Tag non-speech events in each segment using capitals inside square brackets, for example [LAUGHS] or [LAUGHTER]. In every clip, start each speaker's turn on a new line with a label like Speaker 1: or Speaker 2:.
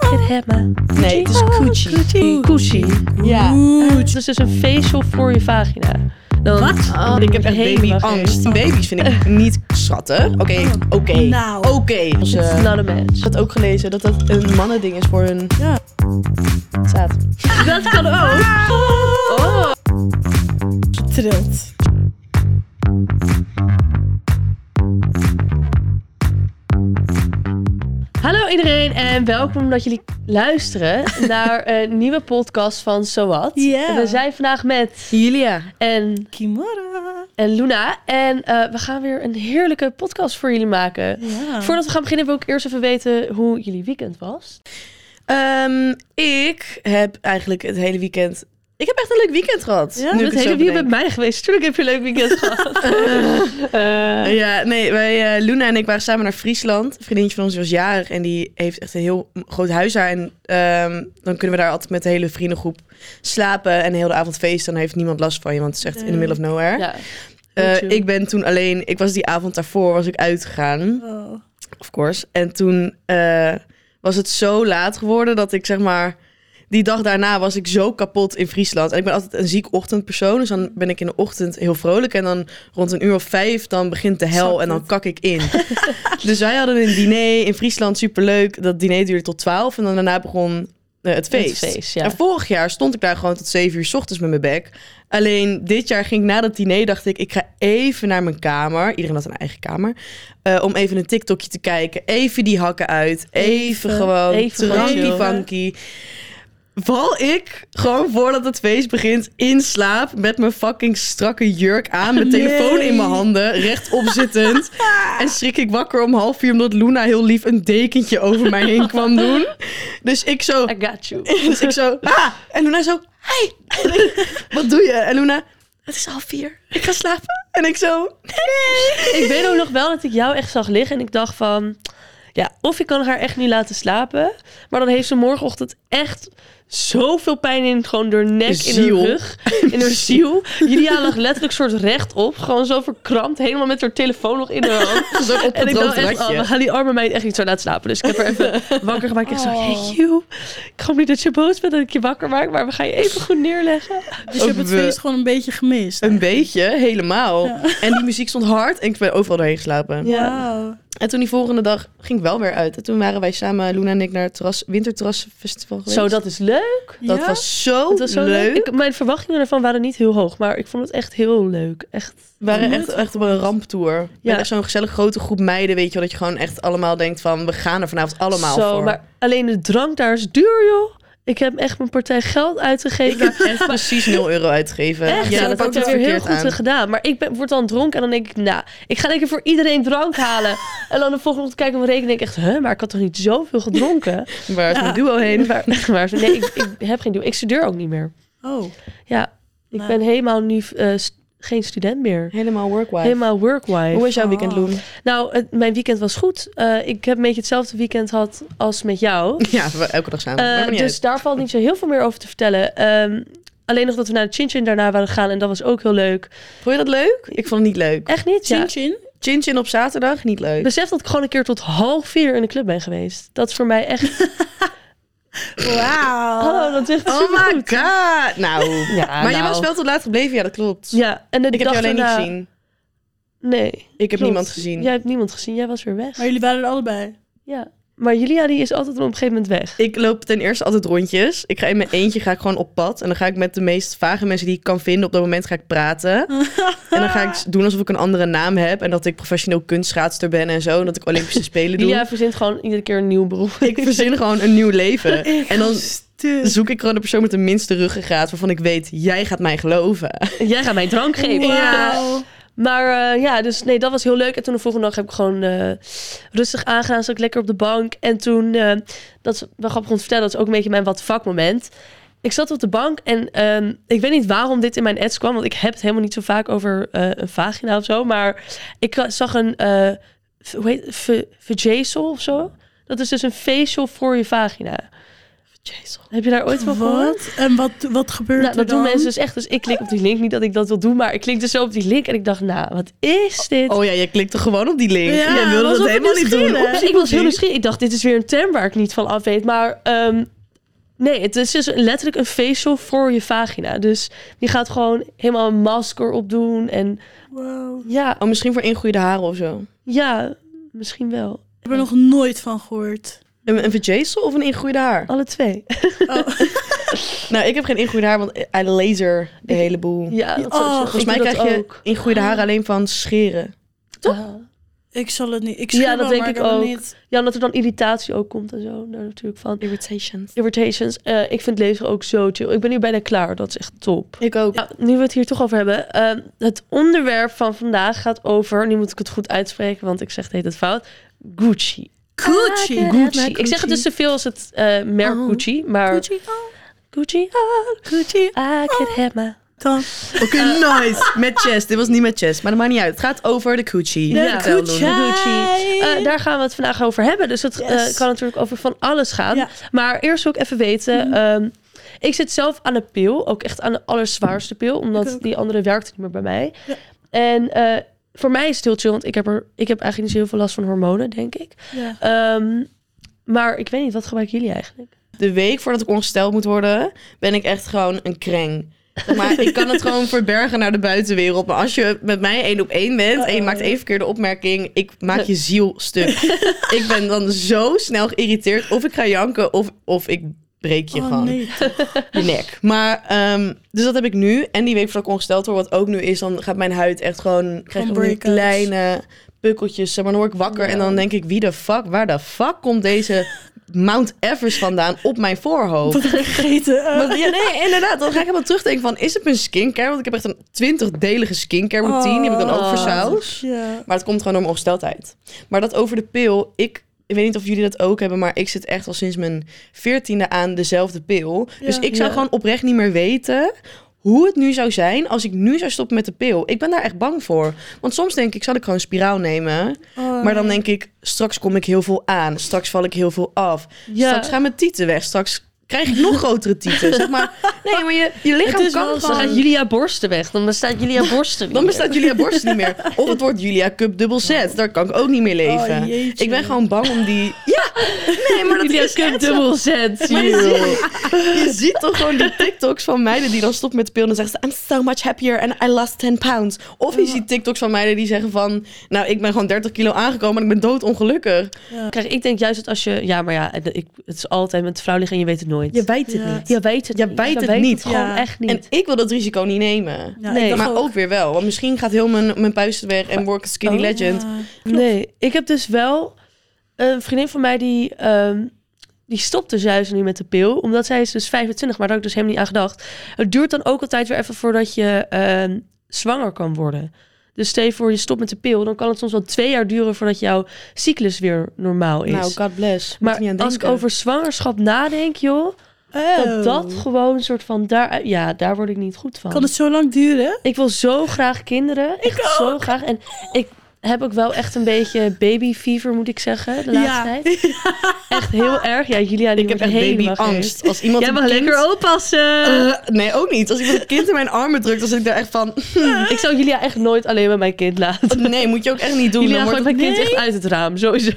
Speaker 1: crème.
Speaker 2: Nee, het is coochie.
Speaker 1: Coochie.
Speaker 2: Ja.
Speaker 1: Dat is Oh, dus een facial voor je vagina. Dan
Speaker 3: Wat?
Speaker 1: Oh,
Speaker 2: ik heb echt
Speaker 1: helemaal
Speaker 2: babyangst. Baby's vind ik niet schattig. Oké, oké.
Speaker 3: Nou.
Speaker 2: Oké. Dus, eh,
Speaker 1: It's not a match.
Speaker 2: ik had ook gelezen dat dat een mannending is voor hun ja. zaad.
Speaker 1: Dat kan ook. [LAUGHS] Oh.
Speaker 3: trilt.
Speaker 1: Hallo iedereen en welkom dat jullie luisteren
Speaker 2: [LAUGHS]
Speaker 1: naar een nieuwe podcast van Zowat.
Speaker 3: Ja.
Speaker 1: We zijn vandaag met
Speaker 2: Julia.
Speaker 1: en,
Speaker 3: Kimura.
Speaker 1: en Luna en eh, we gaan weer een heerlijke podcast voor jullie maken.
Speaker 3: Ja.
Speaker 1: Voordat we gaan beginnen wil ik eerst even weten hoe jullie weekend was.
Speaker 2: ehm, ik heb eigenlijk het hele weekend... Ik heb echt een leuk weekend gehad.
Speaker 3: Ja?
Speaker 2: nu
Speaker 1: Je
Speaker 2: ik
Speaker 1: bent
Speaker 2: het
Speaker 1: hele
Speaker 2: zo
Speaker 1: weekend
Speaker 2: bedenk.
Speaker 1: bij mij geweest. Tuurlijk heb je een leuk
Speaker 2: [LAUGHS]
Speaker 1: weekend gehad. Eh,
Speaker 2: Ja, nee, wij, eh, Luna en ik waren samen naar Friesland. Een vriendinnetje van ons die was jarig en die heeft echt een heel groot huis daar. En ehm, dan kunnen we daar altijd met de hele vriendengroep slapen en heel de avond feesten. Dan heeft niemand last van je, want het is echt in the middle of nowhere.
Speaker 1: ja.
Speaker 2: Eh,
Speaker 1: chill.
Speaker 2: ik ben toen alleen, ik was die avond daarvoor, was ik uitgegaan.
Speaker 3: Oh.
Speaker 2: Of course. En toen eh, was het zo laat geworden dat ik zeg maar... Die dag daarna was ik zo kapot in Friesland. En ik ben altijd een ziek ochtendpersoon. Dus dan ben ik in de ochtend heel vrolijk. En dan rond een uur of vijf, dan begint de
Speaker 3: Snap
Speaker 2: hel en dan
Speaker 3: het.
Speaker 2: kak ik in. dus wij hadden een diner in Friesland, superleuk. Dat diner duurde tot twaalf. En dan daarna begon eh, het feest.
Speaker 1: feest, ja.
Speaker 2: En vorig jaar stond ik daar gewoon tot zeven uur 's ochtends met mijn bek. Alleen dit jaar ging ik na dat diner, dacht ik, ik ga even naar mijn kamer. Iedereen had een eigen kamer. Eh, om even een TikTokje te kijken. Even die hakken uit. Even,
Speaker 3: Even,
Speaker 2: gewoon.
Speaker 1: even
Speaker 2: Even
Speaker 1: gewoon
Speaker 3: chillen.
Speaker 2: funky. Val ik gewoon voordat het feest begint in slaap met mijn fucking strakke jurk aan, mijn telefoon in mijn handen, rechtop zittend.
Speaker 3: [LAUGHS] Ah.
Speaker 2: en schrik ik wakker om half vier omdat Luna heel lief een dekentje over mij heen kwam doen. Dus
Speaker 1: [LAUGHS]
Speaker 2: ik zo,
Speaker 1: I got you.
Speaker 2: dus ik zo, ah! En Luna zo, hi! En ik, Wat doe je? En Luna, het is half vier, ik ga slapen. En ik zo, nee!
Speaker 1: ik weet ook nog wel dat ik jou echt zag liggen en ik dacht van... Ja, of ik kan haar echt niet laten slapen. Maar dan heeft ze morgenochtend echt zoveel pijn in gewoon door nek, in
Speaker 2: Ziel.
Speaker 1: haar rug, in haar ziel. Julia lag letterlijk soort rechtop, gewoon zo verkrampt, helemaal met haar telefoon nog in haar
Speaker 2: [LAUGHS]
Speaker 1: hand.
Speaker 2: Zo op
Speaker 1: En
Speaker 2: het
Speaker 1: ik dacht echt, oh,
Speaker 2: ratje.
Speaker 1: we gaan die arme meid echt niet zo laten slapen. Dus ik heb haar even wakker gemaakt. Ik zei,
Speaker 3: Oh.
Speaker 1: hey you, ik hoop niet dat je boos bent dat ik je wakker maak, maar we gaan je even goed neerleggen.
Speaker 3: Dus je hebt het
Speaker 2: we-
Speaker 3: feest gewoon een beetje gemist.
Speaker 2: Een beetje, helemaal.
Speaker 3: Ja.
Speaker 2: En die muziek stond hard en ik ben overal doorheen geslapen.
Speaker 3: Wauw.
Speaker 2: En toen die volgende dag ging ik wel weer uit. En toen waren wij samen, Luna en ik, naar het terras, winterterrasfestival geweest.
Speaker 1: Zo, dat is leuk.
Speaker 2: dat
Speaker 3: Ja?
Speaker 2: was zo,
Speaker 1: Het was zo leuk.
Speaker 2: leuk.
Speaker 1: Ik- mijn verwachtingen ervan waren niet heel hoog, maar ik vond het echt heel leuk. Echt.
Speaker 2: We waren
Speaker 3: Nooit
Speaker 2: echt, echt op een ramptour.
Speaker 1: Ja.
Speaker 2: Ja. Echt zo'n gezellige grote groep meiden, weet je wel. Dat je gewoon echt allemaal denkt van, we gaan er vanavond allemaal
Speaker 1: zo,
Speaker 2: voor.
Speaker 1: maar alleen de drank daar is duur, joh. Ik heb echt mijn partij geld
Speaker 2: Ik
Speaker 1: uitgegeven.
Speaker 2: heb echt precies 0 euro
Speaker 1: [LAUGHS]
Speaker 2: uitgegeven.
Speaker 1: Echt, ja, dat had
Speaker 2: pakt
Speaker 1: je
Speaker 2: het
Speaker 1: weer heel
Speaker 2: verkeerd
Speaker 1: goed
Speaker 2: aan.
Speaker 1: gedaan. Maar ik ben, word dan dronken en dan denk ik, nou, ik ga lekker voor iedereen drank
Speaker 2: [LAUGHS]
Speaker 1: halen. en dan de volgende ochtend kijk ik op mijn rekening en denk ik echt, huh, maar ik had toch niet zoveel gedronken?
Speaker 2: Waar is mijn duo heen?
Speaker 1: maar, [LAUGHS] maar nee, ik, ik heb geen doel. Ik studeer ook niet meer.
Speaker 3: Oh.
Speaker 1: Ja, ik
Speaker 3: Nou.
Speaker 1: ben helemaal nu eh, st- geen student meer.
Speaker 2: Helemaal workwife.
Speaker 1: Helemaal workwife.
Speaker 2: Hoe was jouw weekend,
Speaker 3: Oh.
Speaker 2: Loen?
Speaker 1: Nou, het- mijn weekend was goed. Eh, ik heb een beetje hetzelfde weekend gehad als met jou.
Speaker 2: [LAUGHS] Ja, we- elke dag samen.
Speaker 1: Eh,
Speaker 2: Maakt me niet
Speaker 1: dus daar valt niet zo heel veel meer over te vertellen. Ehm, alleen nog dat we naar de Chin Chin daarna waren gegaan en dat was ook heel leuk.
Speaker 2: uit. Vond je dat leuk? Ik vond het niet leuk.
Speaker 1: Echt niet? Ja.
Speaker 3: Chin chin.
Speaker 2: Chin chin op zaterdag? Niet leuk.
Speaker 1: Besef dat ik gewoon een keer tot half vier in de club ben geweest. Dat is voor mij echt...
Speaker 3: Wauw.
Speaker 1: Oh, dat is echt
Speaker 2: oh
Speaker 1: [LAUGHS]
Speaker 2: my
Speaker 1: supergoed.
Speaker 2: god! Nou.
Speaker 1: [LAUGHS] Ja,
Speaker 2: maar je
Speaker 1: nou.
Speaker 2: was wel tot laat gebleven. Ja, dat klopt.
Speaker 1: Ja, en de
Speaker 2: ik heb
Speaker 1: dag
Speaker 2: je alleen
Speaker 1: daarna-
Speaker 2: niet gezien.
Speaker 1: Nee. Ik
Speaker 2: Ik heb niemand gezien.
Speaker 1: Jij hebt niemand gezien. Jij was weer weg.
Speaker 3: Maar jullie waren er allebei.
Speaker 1: Ja. Maar Julia die is altijd op een gegeven moment weg.
Speaker 2: Ik loop ten eerste altijd rondjes. Ik ga in mijn eentje ga ik gewoon op pad. En dan ga ik met de meest vage mensen die ik kan vinden op dat moment ga ik praten. en dan ga
Speaker 1: [LAUGHS]
Speaker 2: ik doen alsof ik een andere naam heb. En dat ik professioneel kunstschaatster ben en zo. En dat
Speaker 1: [LAUGHS]
Speaker 2: ik Olympische Spelen doe.
Speaker 1: Julia verzint gewoon iedere keer een nieuw beroep.
Speaker 2: Ik verzin gewoon een nieuw leven.
Speaker 1: [LAUGHS]
Speaker 2: En dan
Speaker 3: Stuk.
Speaker 2: zoek ik gewoon de persoon met de minste ruggengraat... waarvan ik weet, jij gaat mij geloven.
Speaker 1: Jij gaat mij drank geven.
Speaker 3: Wauw.
Speaker 1: Maar eh, ja, dus nee, dat was heel leuk. En toen de volgende dag heb ik gewoon eh, rustig aangedaan. Zat ik lekker op de bank. En toen, eh, dat is wel grappig om te vertellen, dat is ook een beetje mijn wat vak moment. Ik zat op de bank en ehm, ik weet niet waarom dit in mijn ads kwam. Want ik heb het helemaal niet zo vaak over eh, een vagina of zo. Maar ik ra- zag een, eh v- hoe heet het? V- vajacial of zo. Dat is dus een facial voor je vagina.
Speaker 2: Jason.
Speaker 1: Heb je daar ooit van gehoord?
Speaker 3: Wat? En wat, wat gebeurt
Speaker 1: Nou,
Speaker 3: er
Speaker 1: dat
Speaker 3: dan?
Speaker 1: doen mensen dus echt. Dus ik klik op die link. Niet dat ik dat wil doen, maar ik klik dus zo op die link. En ik dacht, nou, wat is dit?
Speaker 2: Oh ja, je klikt er gewoon op die link.
Speaker 3: Ja,
Speaker 2: Jij wilde
Speaker 3: was
Speaker 2: dat
Speaker 3: ook
Speaker 2: helemaal niet doen.
Speaker 3: nieuwsgierig.
Speaker 2: Oeps,
Speaker 1: Eh, ik was heel
Speaker 2: oepsie.
Speaker 1: nieuwsgierig. Ik dacht, dit is weer een term waar ik niet van af weet. Maar ehm, nee, het is dus letterlijk een facial voor je vagina. Dus je gaat gewoon helemaal een masker opdoen. En
Speaker 3: Wow.
Speaker 1: ja,
Speaker 2: Oh, misschien voor ingroeide haren of zo.
Speaker 1: ja, misschien wel.
Speaker 3: Ik heb er nog nooit van
Speaker 1: [LAUGHS]
Speaker 3: gehoord.
Speaker 2: Een, een verjazel of een ingroeide haar?
Speaker 1: Alle twee.
Speaker 3: Oh.
Speaker 2: Nou, ik heb geen ingroeide haar, want I laser de hele boel.
Speaker 1: Ja, dat
Speaker 3: Oh,
Speaker 1: zou-
Speaker 2: Volgens
Speaker 1: ik
Speaker 2: mij
Speaker 1: doe dat
Speaker 2: krijg je
Speaker 1: ook. Ah.
Speaker 2: ingroeide haar alleen van scheren.
Speaker 1: Toch?
Speaker 3: ik zal het niet. Ik
Speaker 1: Ja,
Speaker 3: schuur
Speaker 1: dat
Speaker 3: wel,
Speaker 1: denk
Speaker 3: maar
Speaker 1: ik
Speaker 3: heb het
Speaker 1: ook.
Speaker 3: Niet.
Speaker 1: Ja, omdat er dan irritatie ook komt en zo. Daar natuurlijk van.
Speaker 2: Irritations.
Speaker 1: Irritations. Eh, ik vind lezen ook zo chill. Ik ben nu bijna klaar. Dat is echt top.
Speaker 2: Ik ook.
Speaker 1: Ja, nu we het hier toch over hebben. ehm, het onderwerp van vandaag gaat over. Nu moet ik het goed uitspreken, want ik zeg het heet het fout. Gucci. Ah,
Speaker 3: Gucci.
Speaker 1: Gucci.
Speaker 3: Gucci.
Speaker 1: Ik zeg het dus zoveel als het eh, merk
Speaker 3: Oh.
Speaker 1: Gucci, maar Gucci.
Speaker 3: Gucci. Oh,
Speaker 1: oh,
Speaker 3: Gucci.
Speaker 1: I can have my-
Speaker 3: Dan.
Speaker 2: Oké,
Speaker 1: Eh.
Speaker 2: nice. Met chest. Dit was niet met chest, maar dat maakt niet uit. Het gaat over de Gucci.
Speaker 1: Ja.
Speaker 2: Vertel, Loen.
Speaker 3: Gucci.
Speaker 1: Eh, daar gaan we het vandaag over hebben. Dus het eh,
Speaker 3: Oh. Yes.
Speaker 1: kan natuurlijk over van alles gaan.
Speaker 3: Ja. Mhm.
Speaker 1: Maar eerst wil ik even weten. ehm, ik zit zelf aan de pil. Ook echt aan de allerzwaarste pil. Omdat
Speaker 3: ook.
Speaker 1: die andere werkte niet meer bij mij.
Speaker 3: Ja.
Speaker 1: En eh, voor mij is het heel chill. Want ik heb, er, ik heb eigenlijk niet zo heel veel last van hormonen, denk ik.
Speaker 3: Ja.
Speaker 1: Ehm, maar ik weet niet, wat gebruiken jullie eigenlijk?
Speaker 2: De week voordat ik ongesteld moet worden, ben ik echt gewoon een kreng. Zeg Maar ik kan het gewoon verbergen naar de buitenwereld. Maar als je met mij één op één bent en je
Speaker 3: Uh-oh.
Speaker 2: maakt één verkeerde opmerking, ik maak je ziel stuk. ik ben dan zo snel geïrriteerd. Of ik ga janken of, of ik breek je
Speaker 3: Oh
Speaker 2: gewoon.
Speaker 3: nee.
Speaker 2: [LAUGHS] je nek. Maar, ehm, dus dat heb ik nu. En die week voordat ik ongesteld word, wat ook nu is, dan gaat mijn huid echt gewoon... Krijg ik
Speaker 3: Gewoon
Speaker 2: van die
Speaker 3: breakouts.
Speaker 2: kleine pukkeltjes. Zeg Maar dan word ik wakker en dan denk ik, wie de fuck, waar de fuck komt deze Mount Everest vandaan op mijn voorhoofd?
Speaker 3: Wat heb ik gegeten?
Speaker 1: [LAUGHS]
Speaker 3: Eh,
Speaker 2: Want- ja, nee, inderdaad. Dan ga ik helemaal terugdenken van, is het mijn skincare? Want ik heb echt een twintigdelige skincare routine. Die heb ik dan ook voor
Speaker 1: Oh.
Speaker 2: saus.
Speaker 3: Ja.
Speaker 2: Maar het komt gewoon door mijn ongesteldheid. Maar dat over de pil, ik, ik weet niet of jullie dat ook hebben, maar ik zit echt al sinds mijn veertiende aan dezelfde pil.
Speaker 3: Ja.
Speaker 2: dus ik zou
Speaker 1: Ja.
Speaker 2: gewoon oprecht niet meer weten hoe het nu zou zijn als ik nu zou stoppen met de pil. Ik ben daar echt bang voor. Want soms denk ik, zal ik gewoon een spiraal nemen?
Speaker 3: Oh,
Speaker 2: Maar dan
Speaker 3: nee.
Speaker 2: denk ik, straks kom ik heel veel aan. Straks val ik heel veel af. Straks gaan mijn tieten weg. Straks krijg ik nog grotere tieten. Zeg
Speaker 3: [LAUGHS]
Speaker 2: maar, nee, maar je, je
Speaker 1: Het
Speaker 2: lichaam
Speaker 1: is
Speaker 2: kan
Speaker 1: wel, dan
Speaker 2: gewoon...
Speaker 1: gaat Julia borsten weg. Dan bestaat [LAUGHS] Julia borsten
Speaker 2: Dan bestaat Julia Borst niet meer. Of het wordt Julia Cup dubbel Z. Daar kan ik ook niet meer leven.
Speaker 3: Oh, jeetje.
Speaker 2: ik ben gewoon bang om die... Ja! Nee, maar dat
Speaker 1: Julia
Speaker 2: is
Speaker 1: Cup
Speaker 2: echt zo.
Speaker 1: dubbel zet.
Speaker 2: Maar je, ziet, je ziet toch gewoon die TikToks van meiden die dan stopt met de pil. En dan zeggen ze, I'm so much happier and I lost 10 pounds. Of je ziet TikToks van meiden die zeggen van... Nou, ik ben gewoon 30 kilo aangekomen en ik ben doodongelukkig.
Speaker 1: Kijk, ik denk juist dat als je... Ja, maar ja, het- ik, het is altijd met vrouw liggen en je weet het nooit.
Speaker 2: Je weet het
Speaker 3: Ja.
Speaker 2: niet.
Speaker 1: Je weet het
Speaker 2: Je
Speaker 1: niet.
Speaker 2: weet
Speaker 1: Je
Speaker 2: het
Speaker 1: weet
Speaker 2: niet.
Speaker 1: gewoon
Speaker 3: Ja.
Speaker 1: echt niet.
Speaker 2: En ik wil dat risico niet nemen.
Speaker 3: Ja,
Speaker 1: Nee.
Speaker 3: ik dacht
Speaker 2: Maar ook weer wel. Want misschien gaat heel mijn, mijn puist weg en word ik een skinny
Speaker 1: Oh.
Speaker 2: legend.
Speaker 3: Ja.
Speaker 1: nee, ik heb dus wel een vriendin van mij die... ehm die stopt dus juist nu met de pil. Omdat zij is dus 25, maar daar had ik dus helemaal niet aan gedacht. Het duurt dan ook altijd weer even voordat je ehm, zwanger kan worden. Dus stel je voor je stopt met de pil. Dan kan het soms wel twee jaar duren voordat jouw cyclus weer normaal is.
Speaker 2: Nou, God bless. Moet er niet
Speaker 1: maar
Speaker 2: aan
Speaker 1: als ik
Speaker 2: denken. Oh.
Speaker 1: over zwangerschap nadenk, joh.
Speaker 3: Oh.
Speaker 1: Dat dat gewoon een soort van daar... Ja, daar word ik niet goed van.
Speaker 3: Kan het zo lang duren?
Speaker 1: Ik wil zo graag kinderen. Echt zo graag. En ik heb ook wel echt een beetje baby fever, moet ik zeggen, de laatste
Speaker 3: ja.
Speaker 1: tijd. [LAUGHS] Echt heel erg. Ja, Julia, die
Speaker 2: Ik heb echt
Speaker 1: wordt helemaal gek.
Speaker 2: babyangst. Als iemand een kind-
Speaker 1: oppassen.
Speaker 2: Eh, nee, ook niet. Als iemand een kind in mijn armen drukt, dan zit ik daar echt van...
Speaker 1: ik zou Julia echt nooit alleen met mijn kind laten.
Speaker 2: Nee, moet je ook echt niet doen.
Speaker 1: Julia
Speaker 2: Dan
Speaker 1: gooit
Speaker 2: wordt
Speaker 1: mijn
Speaker 2: het-
Speaker 1: kind echt uit het raam, sowieso.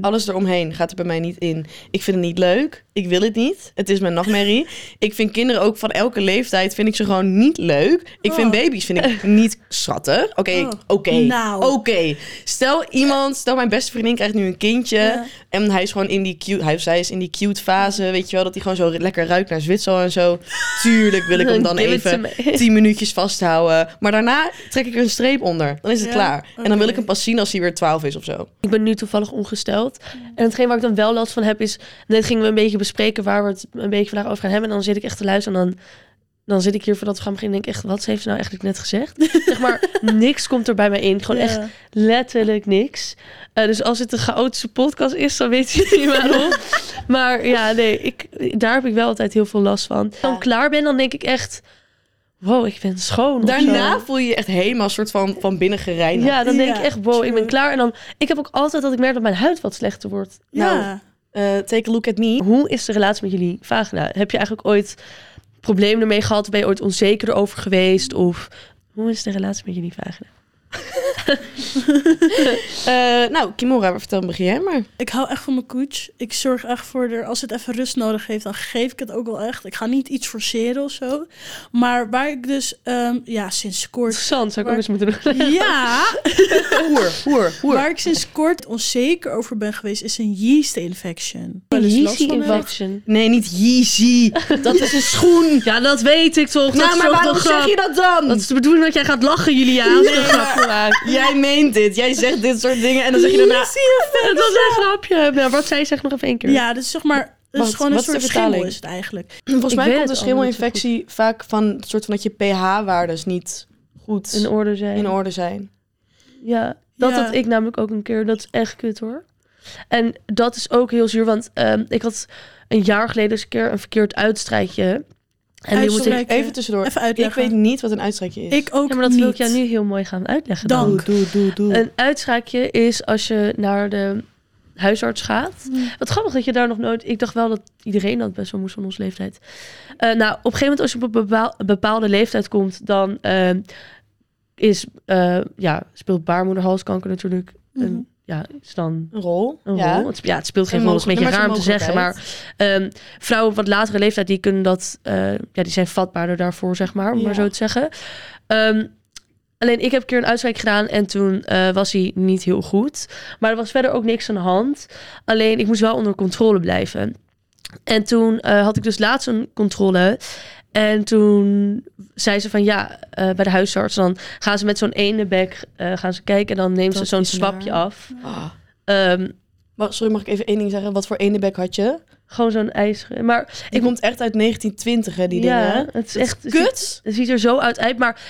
Speaker 2: Alles eromheen gaat er bij mij niet in. Ik vind het niet leuk. Ik wil het niet. Het is mijn
Speaker 3: [LAUGHS]
Speaker 2: nachtmerrie. Ik vind kinderen ook van elke leeftijd vind ik ze gewoon niet leuk. Ik vind
Speaker 3: Oh.
Speaker 2: baby's vind
Speaker 3: [LAUGHS]
Speaker 2: ik niet schattig. Oké,
Speaker 3: Oh.
Speaker 2: oké.
Speaker 3: Nou.
Speaker 2: Oké. Stel iemand, stel mijn beste vriendin krijgt nu een kindje
Speaker 3: Ja.
Speaker 2: en hij is gewoon in die cute, hij of zij is in die cute fase, weet je wel, dat hij gewoon zo lekker ruikt naar Zwitserland en zo. Tuurlijk
Speaker 3: [LAUGHS]
Speaker 2: wil ik hem dan
Speaker 1: Give it to
Speaker 2: even
Speaker 1: me.
Speaker 2: 10 minuutjes vasthouden. Maar daarna trek ik er een streep onder. Dan is het
Speaker 3: Ja,
Speaker 2: klaar. En dan
Speaker 3: oké.
Speaker 2: wil ik hem pas zien als hij weer 12 is of zo.
Speaker 1: Ik ben nu toevallig ongesteld. En hetgeen waar ik dan wel last van heb is... Net gingen we een beetje bespreken waar we het een beetje vandaag over gaan hebben. En dan zit ik echt te luisteren en dan... Dan zit ik hier voordat we gaan beginnen en denk ik echt... Wat heeft ze nou eigenlijk net gezegd?
Speaker 3: [LAUGHS]
Speaker 1: zeg maar, niks komt er bij mij in. Gewoon echt letterlijk niks. Eh, dus als het een chaotische podcast is, dan weet je niet
Speaker 3: [LAUGHS]
Speaker 1: waarom. maar ja, nee, ik, daar heb ik wel altijd heel veel last van. Als ik dan klaar ben, dan denk ik echt... Wow, ik ben schoon. of zo.
Speaker 2: Daarna voel je je echt helemaal soort van, van binnen gereinigd.
Speaker 1: Ja, dan denk
Speaker 3: Ja,
Speaker 1: ik echt, wow, ik ben
Speaker 3: true.
Speaker 1: klaar. En dan, ik heb ook altijd dat ik merk dat mijn huid wat slechter wordt.
Speaker 3: Ja.
Speaker 2: Nou, eh, Take a Look at Me.
Speaker 1: Hoe is de relatie met jullie vagina? Heb je eigenlijk ooit problemen ermee gehad? Ben je ooit onzeker erover geweest? Of hoe is de relatie met jullie vagina?
Speaker 2: Eh, nou, Kimora, vertel me, begin jij maar.
Speaker 3: Ik hou echt van mijn coach. Ik zorg echt voor haar. Als het even rust nodig heeft, dan geef ik het ook wel echt. Ik ga niet iets forceren of zo. Maar waar ik dus, ehm, ja,
Speaker 1: [LAUGHS]
Speaker 3: sinds kort.
Speaker 1: Interessant, zou ik ook eens moeten doen.
Speaker 3: ja,
Speaker 2: Hoer, hoer, hoer.
Speaker 3: waar ik sinds kort onzeker over ben geweest, is een yeast infection. Wel eens last
Speaker 1: Yeezy
Speaker 3: van heb.
Speaker 1: infection.
Speaker 2: Nee, niet Yeezy. Dat is een schoen.
Speaker 1: Ja, dat weet ik toch. dat
Speaker 2: nou,
Speaker 1: is
Speaker 2: maar
Speaker 1: toch
Speaker 2: waarom
Speaker 1: de
Speaker 2: zeg
Speaker 1: grap.
Speaker 2: je dat dan?
Speaker 1: Dat is de bedoeling dat jij gaat lachen, Julia. Als ik een
Speaker 2: Nee.
Speaker 1: grapje maak.
Speaker 2: Jij meent dit. Jij zegt dit soort dingen en dan zeg je daarna...
Speaker 1: Dat was een grapje. Nou, wat zei zeg nog even één keer.
Speaker 3: Ja, dus zeg maar. Het
Speaker 2: Wacht,
Speaker 3: is gewoon een
Speaker 2: wat is de
Speaker 3: soort schimmel
Speaker 2: vertaling?
Speaker 3: is het eigenlijk.
Speaker 2: Volgens
Speaker 1: Ik
Speaker 2: mij
Speaker 1: weet
Speaker 2: komt
Speaker 1: het
Speaker 2: een
Speaker 1: al niet zo
Speaker 2: schimmelinfectie vaak van het soort van dat je pH-waardes niet goed
Speaker 1: In
Speaker 2: in,
Speaker 1: orde zijn.
Speaker 2: orde zijn.
Speaker 1: Ja, dat
Speaker 3: Ja.
Speaker 1: had ik namelijk ook een keer. Dat is echt kut hoor. En dat is ook heel zuur, want ehm, ik had een jaar geleden eens een keer een verkeerd uitstrijkje. En nu moet ik...
Speaker 3: Uitstrijk- Kijk,
Speaker 2: Even tussendoor.
Speaker 3: Even
Speaker 2: ik
Speaker 3: uitleggen.
Speaker 2: weet niet wat een uitstrijkje is.
Speaker 3: Ik ook
Speaker 1: Ja, maar dat
Speaker 3: niet.
Speaker 1: wil ik jou nu heel mooi gaan uitleggen dan.
Speaker 3: Dank.
Speaker 2: Doe, doe, doe, doe.
Speaker 1: Een uitstrijkje is als je naar de huisarts gaat. Wat grappig dat je daar nog nooit... Ik dacht wel dat iedereen dat best wel moest van onze leeftijd. Eh, nou, op een gegeven moment als je op een bepaal- een bepaalde leeftijd komt... dan ehm, is, eh, ja, speelt baarmoederhalskanker natuurlijk... een-
Speaker 3: Mhm.
Speaker 1: ja, is dan
Speaker 2: Een rol.
Speaker 1: een
Speaker 2: ja.
Speaker 1: rol. Oh, Het, ja, het speelt geen
Speaker 2: Een
Speaker 1: rol, dat is een beetje
Speaker 2: mogel-
Speaker 1: raar om te
Speaker 2: maar het is
Speaker 1: zeggen.
Speaker 2: een
Speaker 1: Maar ehm, vrouwen op wat latere leeftijd, die kunnen dat, eh, ja, die zijn vatbaarder daarvoor, zeg maar, om
Speaker 2: Ja.
Speaker 1: maar zo te zeggen. Ehm, alleen ik heb een keer een uitstrijk gedaan en toen eh, was hij niet heel goed. Maar er was verder ook niks aan de hand. Alleen ik moest wel onder controle blijven. En toen eh, had ik dus laatst een controle. En toen zei ze van ja, eh, bij de huisarts dan gaan ze met zo'n ene bek eh, gaan ze kijken en dan neemt
Speaker 2: Dat
Speaker 1: ze zo'n
Speaker 2: is
Speaker 1: swapje
Speaker 2: naar.
Speaker 1: af.
Speaker 2: Ah.
Speaker 1: Ehm,
Speaker 2: Wacht, sorry, mag ik even één ding zeggen? Wat voor ene bek had je?
Speaker 1: Gewoon zo'n ijs. Maar
Speaker 2: Die komt echt uit 1920, hè, die
Speaker 1: ja,
Speaker 2: dingen.
Speaker 1: het is echt het ziet-
Speaker 2: Kut.
Speaker 1: Het ziet er zo uit uit, maar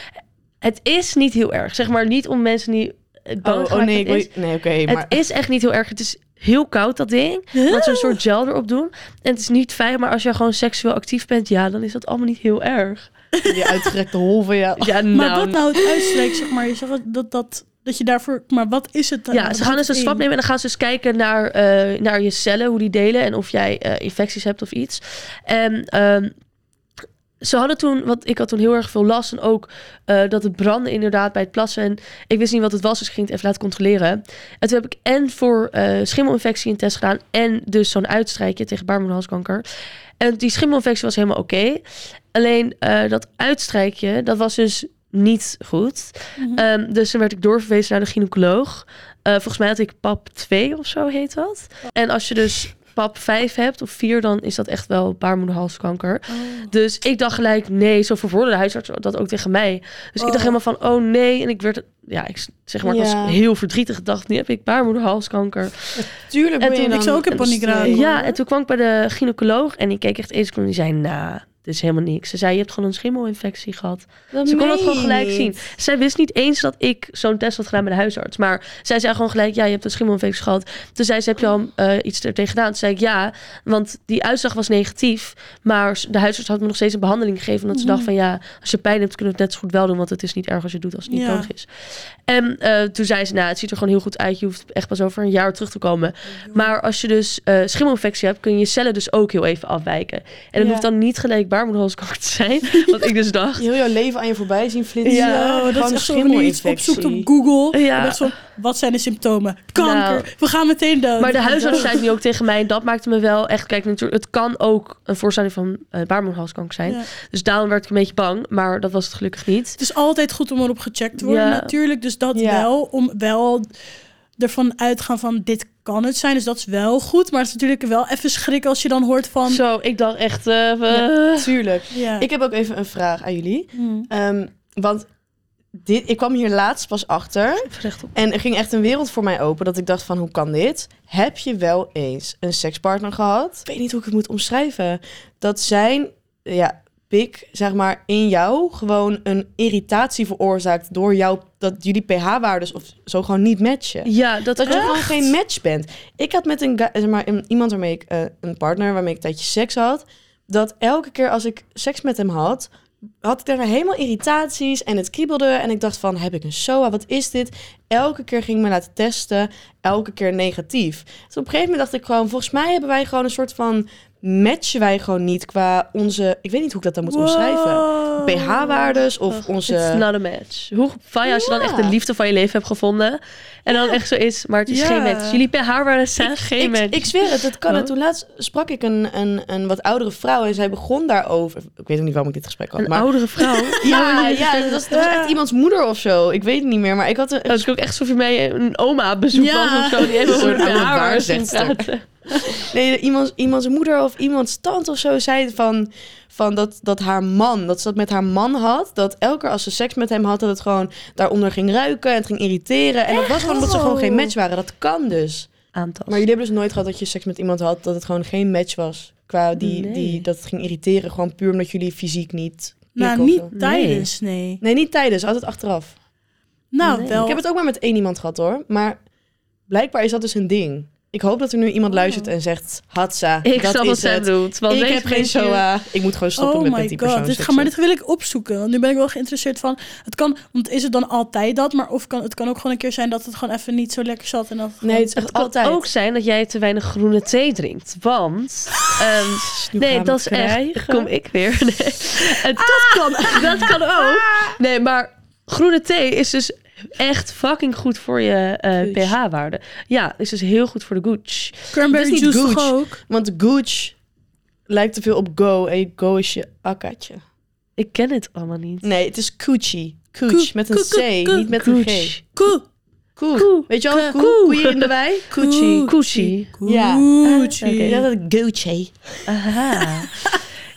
Speaker 1: het is niet heel erg. Zeg maar niet om mensen die het bang
Speaker 2: Oh, oh
Speaker 1: gemaakt
Speaker 2: nee, ik
Speaker 1: het is,
Speaker 2: wil- nee, oké, maar...
Speaker 1: het is echt niet heel erg. Het is heel koud dat ding. Want zo'n soort gel erop doen. En het is niet fijn, maar als jij gewoon seksueel actief bent, ja, dan is dat allemaal niet heel erg.
Speaker 2: [LAUGHS] Die uitgerekte holven, ja.
Speaker 1: Ja, nou.
Speaker 3: Maar wat nou het uitstreekt, zeg maar. Je zegt dat- dat, dat, dat je daarvoor... Maar wat is het dan?
Speaker 1: Ja, ze
Speaker 3: Wat
Speaker 1: gaan
Speaker 3: houdt
Speaker 1: dus een
Speaker 3: het
Speaker 1: swab
Speaker 3: in?
Speaker 1: nemen en dan gaan ze dus kijken naar, eh, naar je cellen, hoe die delen en of jij eh, infecties hebt of iets. En ehm, ze hadden toen, want ik had toen heel erg veel last en ook eh, dat het brandde inderdaad bij het plassen. En ik wist niet wat het was, dus ik ging het even laten controleren. En toen heb ik en voor eh, schimmelinfectie een test gedaan en dus zo'n uitstrijkje tegen baarmoederhalskanker. En die schimmelinfectie was helemaal oké. Alleen eh, dat uitstrijkje, dat was dus niet goed.
Speaker 3: Mhm.
Speaker 1: Ehm, dus toen werd ik doorverwezen naar de gynaecoloog. Eh, volgens mij had ik pap 2 of zo heet dat. En als je dus pap 5 hebt of 4, dan is dat echt wel baarmoederhalskanker.
Speaker 3: Oh.
Speaker 1: Dus ik dacht gelijk, nee, zo verwoordde de huisarts dat ook tegen mij. Dus ik
Speaker 3: Oh.
Speaker 1: dacht helemaal van, oh nee. En ik werd, ja, ik, zeg maar, ik
Speaker 2: Ja.
Speaker 1: was heel verdrietig. Ik dacht, nu heb ik baarmoederhalskanker.
Speaker 2: Tuurlijk
Speaker 1: En
Speaker 2: ben je
Speaker 1: toen-
Speaker 2: dan
Speaker 3: ik zou ook in
Speaker 2: een
Speaker 3: paniek
Speaker 2: streek.
Speaker 3: raken.
Speaker 1: Ja, en toen kwam ik bij de gynaecoloog en die keek echt eens en die zei, nou, dit is helemaal niks. Ze zei, je hebt gewoon een schimmelinfectie gehad.
Speaker 2: Dat
Speaker 1: Ze kon dat
Speaker 2: meen
Speaker 1: gewoon
Speaker 2: je
Speaker 1: gelijk
Speaker 2: niet.
Speaker 1: zien. Zij wist niet eens dat ik zo'n test had gedaan bij de huisarts. Maar zij zei gewoon gelijk, ja, je hebt een schimmelinfectie gehad. Toen zei ze, heb je al eh, iets er tegen gedaan? Toen zei ik, ja, want die uitslag was negatief. Maar de huisarts had me nog steeds een behandeling gegeven. Omdat ze dacht van, ja, als je pijn hebt, kunnen we het net zo goed wel doen. Want het is niet erg als je het doet als het niet
Speaker 3: Ja.
Speaker 1: nodig is. En eh, toen zei ze, nou, het ziet er gewoon heel goed uit. Je hoeft echt pas over een jaar terug te komen. Maar als je dus eh schimmelinfectie hebt, kun je cellen dus ook heel even afwijken. En dat
Speaker 2: Ja.
Speaker 1: hoeft dan niet gelijk baarmoederhalskanker te zijn. Wat ik dus dacht.
Speaker 2: Je heel jouw leven aan je voorbij zien flitsen.
Speaker 1: Ja,
Speaker 3: Ja, oh, dat is
Speaker 2: gewoon
Speaker 3: echt zo wanneer je iets
Speaker 2: schimmelinfectie.
Speaker 3: opzoekt op Google.
Speaker 1: Ja. eh, Nou.
Speaker 3: Ja. Zo, wat zijn de symptomen? Kanker. we gaan meteen dood.
Speaker 1: Maar de huisarts
Speaker 3: huisarts
Speaker 1: zei het nu ook tegen mij. En dat maakte me wel echt... Kijk, natuurlijk, het kan ook een voorstelling van eh baarmoederhalskanker zijn.
Speaker 3: Ja.
Speaker 1: Dus daarom werd ik een beetje bang. Maar dat was het gelukkig niet.
Speaker 3: Het is altijd goed om erop gecheckt te worden
Speaker 1: Ja.
Speaker 3: natuurlijk. Dus dat
Speaker 2: Ja.
Speaker 3: wel, om wel ervan uit te gaan van dit kan het zijn. Dus dat is wel goed. Maar het is natuurlijk wel even schrik als je dan hoort van...
Speaker 1: Zo, ik dacht echt... eh, we-
Speaker 2: Tuurlijk.
Speaker 3: Ja.
Speaker 2: Ik heb ook even een vraag aan jullie.
Speaker 3: Hmm.
Speaker 2: Ehm, want dit, ik kwam hier laatst pas achter.
Speaker 1: Recht op.
Speaker 2: En er ging echt een wereld voor mij open. Dat ik dacht van, hoe kan dit? Heb je wel eens een sekspartner gehad? Ik weet niet hoe ik het moet omschrijven. Dat zijn, ja, pik, zeg maar, in jou gewoon een irritatie veroorzaakt... door jou, dat jullie pH-waardes of zo gewoon niet matchen.
Speaker 1: Ja, dat,
Speaker 2: Dat je gewoon
Speaker 1: Echt?
Speaker 2: geen match bent. Ik had met een, guy- zeg maar, een- iemand waarmee ik eh, een partner waarmee ik een tijdje seks had, dat elke keer als ik seks met hem had, had ik daarna helemaal irritaties en het kriebelde. En ik dacht van, heb ik een SOA? Wat is dit? Elke keer ging ik me laten testen. Elke keer negatief. Dus op een gegeven moment dacht ik gewoon, volgens mij hebben wij gewoon een soort van... Matchen wij gewoon niet qua onze... Ik weet niet hoe ik dat dan moet omschrijven.
Speaker 3: Wow.
Speaker 2: PH-waardes of
Speaker 3: Ach,
Speaker 1: It's
Speaker 2: onze...
Speaker 1: not a match. Hoe fijn als je dan
Speaker 2: Ja.
Speaker 1: echt de liefde van je leven hebt gevonden. En dan echt zo is, maar het is
Speaker 3: Ja.
Speaker 1: geen match. Jullie per haar waren zijn geen
Speaker 2: Ik,
Speaker 1: match.
Speaker 2: ik zweer het, dat kan.
Speaker 1: Oh.
Speaker 2: En toen laatst sprak ik een, een, een wat oudere vrouw en zij begon daarover. Ik weet ook niet waarom ik dit gesprek had.
Speaker 1: een
Speaker 2: maar
Speaker 1: oudere vrouw.
Speaker 2: Ja, ja dat was, dat was echt iemands moeder of zo. Ik weet het niet meer, maar ik had een...
Speaker 1: Dat is Oh, dus ook echt alsof je mij een oma op bezoek
Speaker 3: Ja.
Speaker 1: was of zo. Die
Speaker 2: Een
Speaker 1: even
Speaker 2: soort
Speaker 1: over de
Speaker 2: oude
Speaker 1: haar ging
Speaker 2: waarzegster.
Speaker 1: praten.
Speaker 2: Nee, iemands, iemands moeder of iemands tante of zo zei van, van dat, dat haar man, dat ze dat met haar man had, dat elke keer als ze seks met hem had, dat het gewoon daaronder ging ruiken en het ging irriteren. En dat was gewoon omdat ze gewoon geen match waren. Dat kan dus.
Speaker 1: Aantasten.
Speaker 2: Maar jullie hebben dus nooit gehad dat je seks met iemand had, dat het gewoon geen match was. Qua die,
Speaker 1: Nee.
Speaker 2: die dat het ging irriteren, gewoon puur omdat jullie fysiek niet...
Speaker 3: Nou,
Speaker 2: klikken of
Speaker 3: niet
Speaker 2: zo.
Speaker 3: tijdens, nee.
Speaker 2: Nee, niet tijdens, altijd achteraf.
Speaker 3: Nou,
Speaker 1: Nee.
Speaker 3: wel.
Speaker 2: Ik heb het ook maar met één iemand gehad hoor. Maar blijkbaar is dat dus een ding. Ik hoop dat er nu iemand luistert en zegt: Hatsa,
Speaker 1: Ik
Speaker 2: dat
Speaker 1: snap
Speaker 2: is
Speaker 1: wat zij
Speaker 2: het.
Speaker 1: bedoelt. Want
Speaker 2: ik
Speaker 1: deze
Speaker 2: heb geen
Speaker 1: mensen-
Speaker 2: SOA. Ik moet gewoon stoppen
Speaker 3: oh
Speaker 2: met met
Speaker 3: my
Speaker 2: die
Speaker 3: god,
Speaker 2: persoon.
Speaker 3: dit, ga,
Speaker 2: seksen.
Speaker 3: maar dit wil ik opzoeken. Want nu ben ik wel geïnteresseerd van... Het kan, want is het dan altijd dat? Maar of kan, het kan ook gewoon een keer zijn dat het gewoon even niet zo lekker zat. En dat het
Speaker 2: Nee, het is
Speaker 1: Het
Speaker 2: echt
Speaker 1: kan
Speaker 2: altijd.
Speaker 1: ook zijn dat jij te weinig groene thee drinkt. Want.
Speaker 2: [LAUGHS]
Speaker 1: ehm,
Speaker 2: Nu gaan
Speaker 1: nee,
Speaker 2: we
Speaker 1: dat is
Speaker 2: het
Speaker 1: echt.
Speaker 2: krijgen. Ah!
Speaker 1: Kom ik weer. [LAUGHS] Nee. En dat, kan, dat kan ook. Nee, maar groene thee is dus echt fucking goed voor je eh,
Speaker 2: Gooch.
Speaker 1: pH-waarde. Ja, is dus heel goed voor de gooch.
Speaker 3: Cranberry
Speaker 2: het is niet
Speaker 3: juice toch
Speaker 2: gooch.
Speaker 3: ook?
Speaker 2: Want gooch lijkt te veel op go. En go is je akkaatje.
Speaker 1: Ik ken het allemaal niet.
Speaker 2: Nee, het is coochie. Cooch
Speaker 3: Koe-
Speaker 2: met een
Speaker 3: koe- koe-
Speaker 2: C,
Speaker 3: koe-
Speaker 2: niet met een G.
Speaker 1: Gooch.
Speaker 3: Koe.
Speaker 2: Koe.
Speaker 1: Koe.
Speaker 2: Weet je wel,
Speaker 1: Koe.
Speaker 2: koe, koeien in de wei? Coochie.
Speaker 1: Coochie.
Speaker 2: Ja.
Speaker 3: Gucci.
Speaker 1: Oké.
Speaker 2: Ja, dat is goochie.
Speaker 1: Aha.